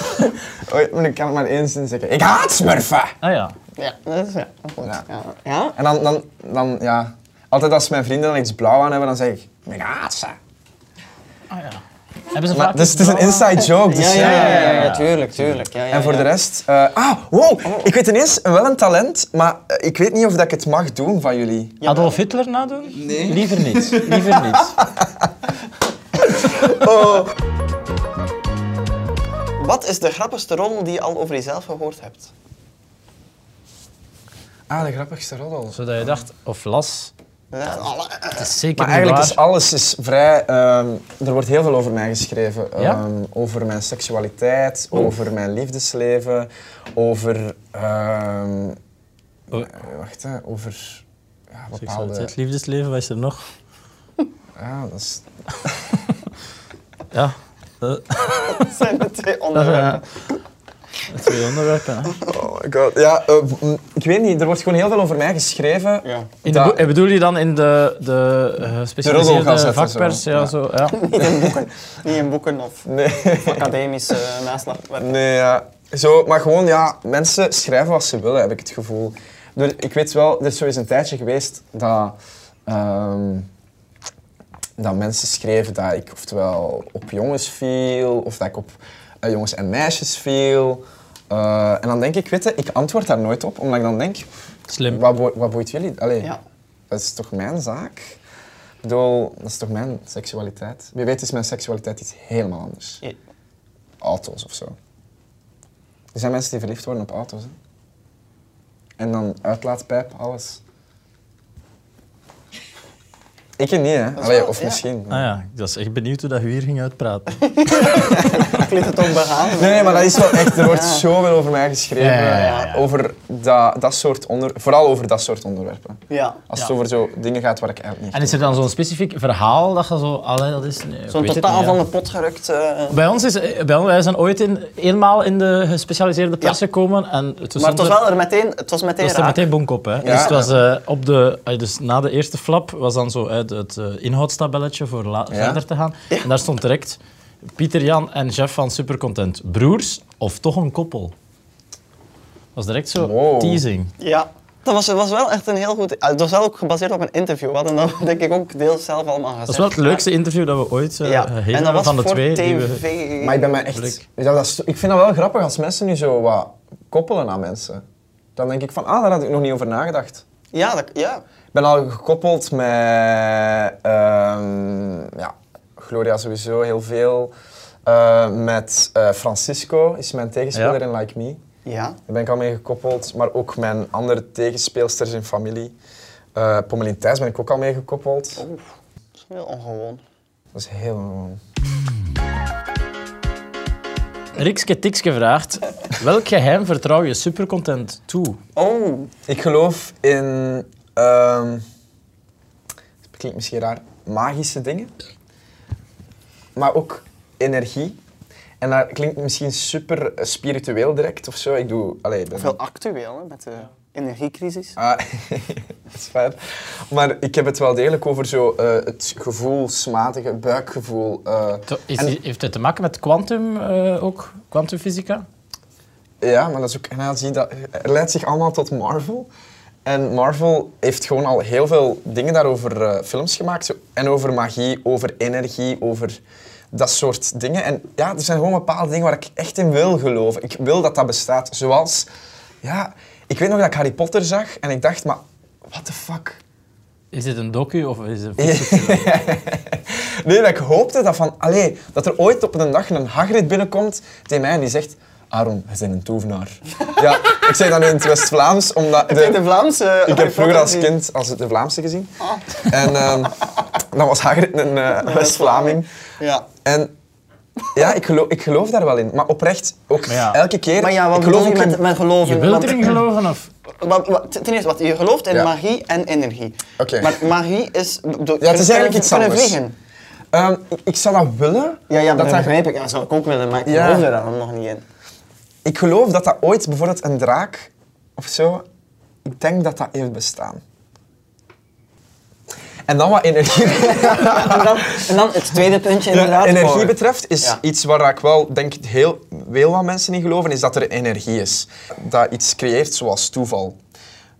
oei, maar ik kan het maar één zin zeggen. Ik haat smurfen! Ah, ja. ja, dat is ja. Goed. Ja. Ja. Ja? En dan, dan, dan, ja... Altijd als mijn vrienden dan iets blauw aan hebben, dan zeg ik... Ik haat ze. Ah, ja. Hebben ze Maar, vaak dus het is een inside joke. Dus, Ja, ja, ja, ja, ja, ja. tuurlijk, tuurlijk. Ja, ja, En voor ja. de rest... eh, ah, wow! Ik weet ineens wel een talent, maar eh, ik weet niet of dat ik het mag doen van jullie. Adolf Hitler nadoen? Nee. Liever niet. Liever niet. Wat is de grappigste rommel die je al over jezelf gehoord hebt? Ah, de grappigste roddel. Zodat je dacht, of las, Het is zeker Maar eigenlijk niet is waar. alles is vrij... ehm, er wordt heel veel over mij geschreven. Ja? Oh. Ehm, over mijn seksualiteit, over mijn liefdesleven, over... ehm, Oh. eh, wacht, hè, over... Ja, bepaalde... Seksualiteit, liefdesleven, wat is er nog? Ja, Ah, dat is... Ja. Dat Dat zijn de twee dat onderwerpen. zijn eh, twee onderwerpen. hè. Oh my god. Ja, eh, m- ik weet niet. Er wordt gewoon heel veel over mij geschreven. Ja. In de Dat- boe- eh, bedoel je dan in de, de eh, roddelgazette, gespecialiseerde zo. vakpers? Ja, Ja. zo. Ja. Niet in boeken of Nee. academisch eh naslagwerk. Nee, ja. Zo, maar gewoon, ja, mensen schrijven wat ze willen, heb ik het gevoel. Er- ik weet wel, er is zo eens een tijdje geweest dat, ehm, dat mensen schreven dat ik oftewel op jongens viel, of dat ik op eh, jongens en meisjes viel. Eh, en dan denk ik, weet je, ik antwoord daar nooit op, omdat ik dan denk, Slim. wat, boe- wat boeit jullie? Allee, Ja. dat is toch mijn zaak? Ik bedoel, dat is toch mijn seksualiteit? Wie weet is mijn seksualiteit iets helemaal anders Je- auto's of zo. Er zijn mensen die verliefd worden op auto's. Hè? En dan uitlaatpijp, alles. Ik niet, hè? is Allee, wel- of ja. misschien. Ah ja, ik was echt benieuwd hoe dat je hier ging uitpraten. Ik liet het ook behalen. Nee, nee, maar dat is wel echt. Er wordt Ja. zoveel over mij geschreven. eh, Ja, ja, ja, ja. Over dat, dat soort onder, vooral over dat soort onderwerpen. Ja. Als Ja. het over zo dingen gaat waar ik eigenlijk En niet. is er dan zo'n specifiek verhaal dat je zo... Allee, dat is... nee, ik Zo'n weet het totaal niet, ja. van de pot gerukt. eh, Bij ons is... eh, Bij, ons- wij zijn ooit in, eenmaal in de gespecialiseerde pers gekomen en... Toen maar het stond was er- wel er meteen, het was Het meteen was er raak. meteen bonk op, hè. Dus, het was, eh, op de, eh, dus na de eerste flap was dan zo uit het eh, inhoudstabelletje voor la- verder te gaan. En daar stond direct Pieter Jan en Jeff van Supercontent. Broers of toch een koppel? was direct zo Wow. teasing. Ja. Dat was, was wel echt een heel goed... eh, Het was wel ook gebaseerd op een interview. We hadden dat denk ik ook deels zelf allemaal gezegd. Dat is wel het leukste interview dat we ooit eh Ja. hebben En dat was van de voor twee. die we- TV. Maar ik ben mij echt. Blik. Ja, dat is- ik vind dat wel grappig als mensen nu zo wat koppelen aan mensen. Dan denk ik van, ah, daar had ik nog niet over nagedacht. Ja, dat, ja. Ik ben al gekoppeld met ehm, ja, Gloria sowieso heel veel. Eh, met eh, Francisco is mijn tegenspeler Ja. in Like Me. Ja. Daar ben ik al mee gekoppeld. Maar ook mijn andere tegenspeelsters in familie. Eh Pommelien Thijs ben ik ook al mee gekoppeld. Dat is heel ongewoon. Dat is heel gewoon. Rikske Tikske vraagt, welk geheim vertrouw je Supercontent toe? Oh. Ik geloof in... ehm, het klinkt misschien raar. Magische dingen. Maar ook energie. En dat klinkt misschien super eh, spiritueel direct of zo. Ik doe... Allee, ik ben- Veel actueel, hè, met de energiecrisis. Ah, dat is waar. Maar ik heb het wel degelijk over zo, eh, het gevoelsmatige buikgevoel. eh. To- is- En- heeft het te maken met quantum eh, ook? Quantumfysica? ja, maar dat is ook... En dan zie je dat, het leidt zich allemaal tot Marvel. En Marvel heeft gewoon al heel veel dingen daarover eh, films gemaakt. Zo, en over magie, over energie, over dat soort dingen. En ja, er zijn gewoon bepaalde dingen waar ik echt in wil geloven. Ik wil dat dat bestaat. Zoals... Ja, ik weet nog dat ik Harry Potter zag en ik dacht, maar... What the fuck? Is dit een docu of is het een nee, dat ik hoopte dat, van, allee, dat er ooit op een dag een Hagrid binnenkomt tegen mij en die zegt... Aaron, je bent een tovenaar. ja, ik zeg dat nu in het West-Vlaams, omdat... Heb je de Vlaamse eh, ik Harry heb vroeger Potter Ah. als gezien? kind als de Vlaamse gezien. En ehm, dan was Hagrid een eh, West-Vlaming. Ja. En ja, ik geloof, ik geloof daar wel in. Maar oprecht, ook Maar ja. elke keer... Maar ja, wat ik geloof bedoel je ook in- met, met geloven? Je wilt Want- erin geloven of... Wat- wat- ten eerste, wat, je gelooft in Ja. magie en energie. Oké. Maar magie is... Ja, het is eigenlijk iets kunnen anders. vliegen. Ehm, ik, ik zou dat willen. Ja, ja, dat, dat dat begrijp ik. Ja, dat zou ik ook willen, maar ik Ja. geloof er dan nog niet in. Ik geloof dat dat ooit bijvoorbeeld een draak of zo. Ik denk dat dat heeft bestaan. En dan wat energie, En dan, en dan het tweede puntje inderdaad. energie voor- betreft, is Ja. iets waar ik wel denk heel, heel wat mensen in geloven, is dat er energie is. Dat iets creëert zoals toeval.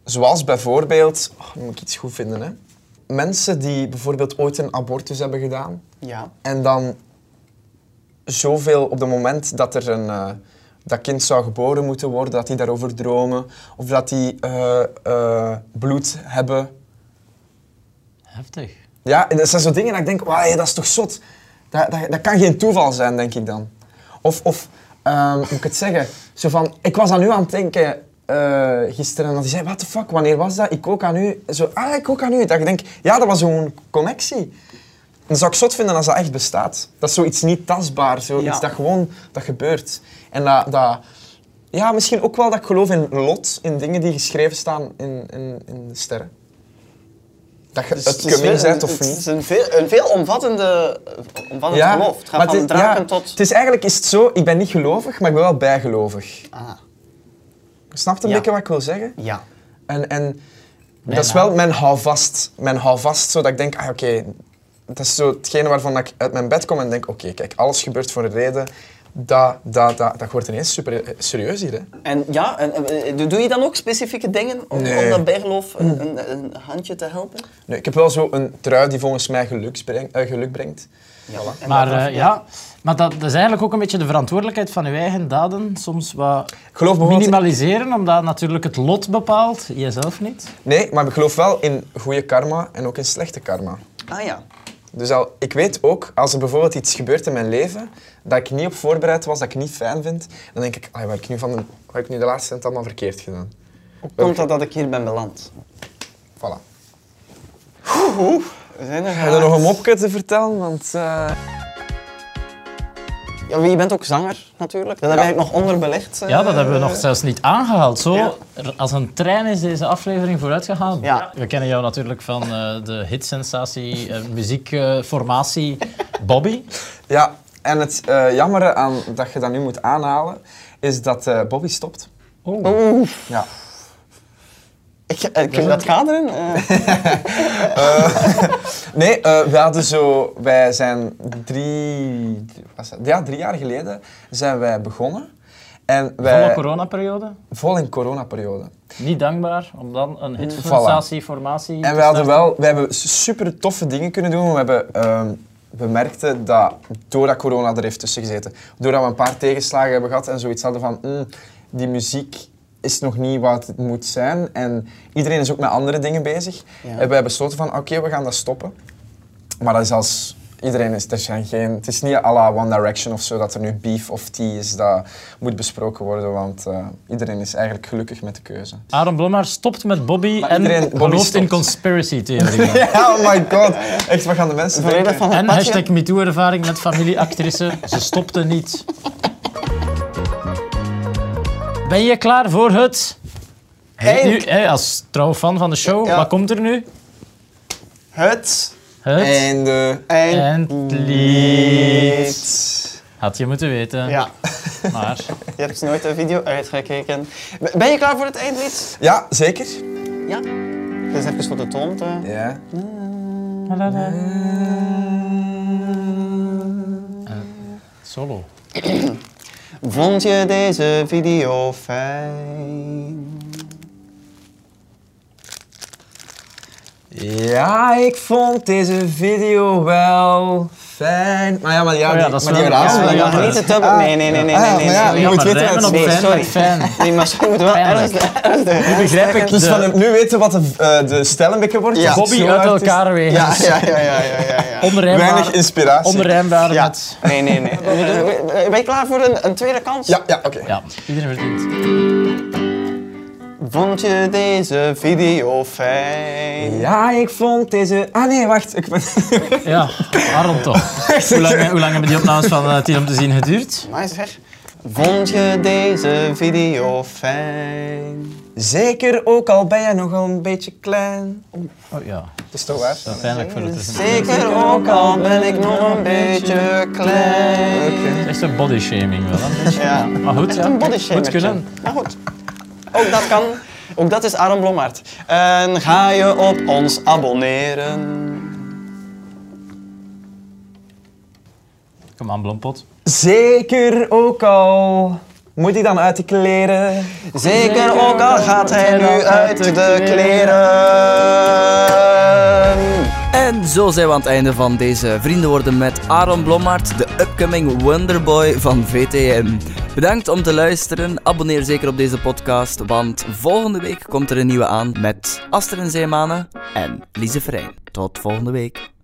Zoals bijvoorbeeld, oh, dan moet ik iets goed vinden hè. Mensen die bijvoorbeeld ooit een abortus hebben gedaan, Ja. en dan zoveel op het moment dat er een, eh, dat kind zou geboren moeten worden, dat die daarover dromen. Of dat die eh, eh, bloed hebben. Heftig. Ja, en dat zijn zo dingen dat ik denk, wauw, dat is toch zot. Dat, dat, dat kan geen toeval zijn, denk ik dan. Of, of ehm, hoe moet ik het zeggen? Zo van, ik was aan u aan het denken eh, gisteren en dat die zei, what the fuck, wanneer was dat? Ik ook aan u. Zo, ah, ik ook aan u. Dat ik denk, ja, dat was zo'n connectie. Dan zou ik zot vinden als dat echt bestaat. Dat is zoiets niet tastbaar, zoiets Ja. dat gewoon dat gebeurt. En dat, dat, ja, misschien ook wel dat ik geloof in lot, in dingen die geschreven staan in, in, in de sterren. Dat je het kumming bent of Dus Het niet. is een, veel, een veelomvattende eh, omvattend geloof. Het gaat maar van het is- draken ja, tot... Het is eigenlijk is het zo, ik ben niet gelovig, maar ik ben wel bijgelovig. Ah, Snapt een Ja. beetje wat ik wil zeggen? ja. En, en dat is wel mijn houvast. Mijn houvast, zodat ik denk, ah, oké, dat is zo hetgene waarvan ik uit mijn bed kom en denk, oké, kijk, alles gebeurt voor een reden. Dat, dat, dat, dat wordt ineens super eh, serieus hier, hè. En ja, en, eh, eh, doe je dan ook specifieke dingen om, Nee. om dat bijgeloof een, een, een handje te helpen? Nee, ik heb wel zo een trui die volgens mij geluks breng- eh, geluk brengt. Ja, en Maar dat- eh, ja, maar dat, dat is eigenlijk ook een beetje de verantwoordelijkheid van uw eigen daden. Soms wat Ik geloof bijvoorbeeld... minimaliseren, omdat natuurlijk het lot bepaalt, jijzelf niet. Nee, maar ik geloof wel in goede karma en ook in slechte karma. eh, Ah ja. Dus al, ik weet ook, als er bijvoorbeeld iets gebeurt in mijn leven dat ik niet op voorbereid was, dat ik niet fijn vind, dan denk ik, "Ai, wat heb ik nu, van de, wat heb ik nu de laatste tijd allemaal verkeerd gedaan? Hoe komt dat dat ik hier ben beland? Voilà. We zijn er Heb je er nog een mopje te vertellen? Want eh, Ja, je bent ook zanger natuurlijk. Dat heb ik nog onderbelicht. eh. Ja, dat hebben we nog zelfs niet aangehaald. Zo, Ja. er- als een trein is deze aflevering vooruitgegaan. Ja. We kennen jou natuurlijk van eh, de hitsensatie, eh muziekformatie Bobby. ja, en het eh jammere aan dat je dat nu moet aanhalen, is dat eh, Bobby stopt. Oeh, Ja. ik, eh, kun je dat kaderen? Eh, Nee, eh we hadden zo, wij zijn drie, was dat? ja, drie jaar geleden zijn wij begonnen. En wij, Volle coronaperiode. vol in coronaperiode. Niet dankbaar om dan een hitsensatie, formatie En te we hadden starten. wel, we hebben super toffe dingen kunnen doen. We hebben ehm, we merkten dat doordat corona er heeft tussen gezeten, doordat we een paar tegenslagen hebben gehad en zoiets hadden van "Mm, die muziek is nog niet wat het moet zijn en iedereen is ook met andere dingen bezig, Ja. hebben wij besloten van oké, we gaan dat stoppen. Maar dat is als iedereen is, er zijn geen, het is niet à la One Direction of zo dat er nu beef of tea is dat moet besproken worden, want eh, iedereen is eigenlijk gelukkig met de keuze. Aaron Blommaar stopt met Bobby Maar en iedereen- Bobby gelooft in stopt. conspiracy-theorieën. Ja, oh my god. Echt, wat gaan de mensen de reden denken? van het En padje. hashtag MeToo-ervaring met familieactrice. Ze stopte niet. Ben je klaar voor het... Hey, nu, hey, als trouw fan van de show, Ja. wat komt er nu? Het Het Einde. en... eindlied. Had je moeten weten, Ja, maar... je hebt nooit een video uitgekeken. Ben je klaar voor het eindlied? Ja, zeker. Ja. Dus even voor de toon te... Ja. Solo. Vond je deze video fijn? Ja, ik vond deze video wel fijn. Maar ja, maar ja, Oh ja, die- dat is maar die wel- raad- ja, Ah, ja, maar jammer. niet de tub. Nee, nee, nee, nee, nee, Ah, ja, nee. maar ja, nee. je moet maar weten rijmen wat op het fan is. sorry. met fan. Nee, maar sorry, je moet wel Pijnlijk. ernstig, ernstig. Nu begrijp ik Dus van de het nu weten wat de, eh, de stellenbekken wordt. Ja. Bobby Zo uit hard is- elkaar weer. Ja, ja, ja, ja, ja, ja. ja. Weinig Onrijmbaar. inspiratie. Onrijmbaar Ja. met... Nee, nee, nee. Ben je klaar voor een, een tweede kans? Ja, ja, oké. Ja, iedereen verdient. Vond je deze video fijn? Ja, ik vond deze... Ah nee, wacht. Ik ben... Ja, waarom toch? Hoe lang, hoe lang hebben die opnames van eh, Tien om te zien geduurd? Nice zeg. Vond je deze video fijn? Zeker, ook al ben jij nogal een beetje klein. Oh ja, Dat is toch waar? dat is pijnlijk voor het is Zeker ook al ben ik nog een beetje klein. echt een body shaming wel. hè? Ja. Maar goed, Echt ja. een body Moet kunnen. Maar goed, ook dat kan. Ook dat is Aaron Blommaert. En ga je op ons abonneren? Kom aan, Blompot. Zeker, ook al... Moet hij dan uit de kleren? Zeker ook al gaat hij nu uit de kleren. En zo zijn we aan het einde van deze Vrienden worden met Aaron Blommaert, de upcoming Wonderboy van VTM. Bedankt om te luisteren. Abonneer zeker op deze podcast, want volgende week komt er een nieuwe aan met Aster en Zeemanen en Lise Verijn. Tot volgende week.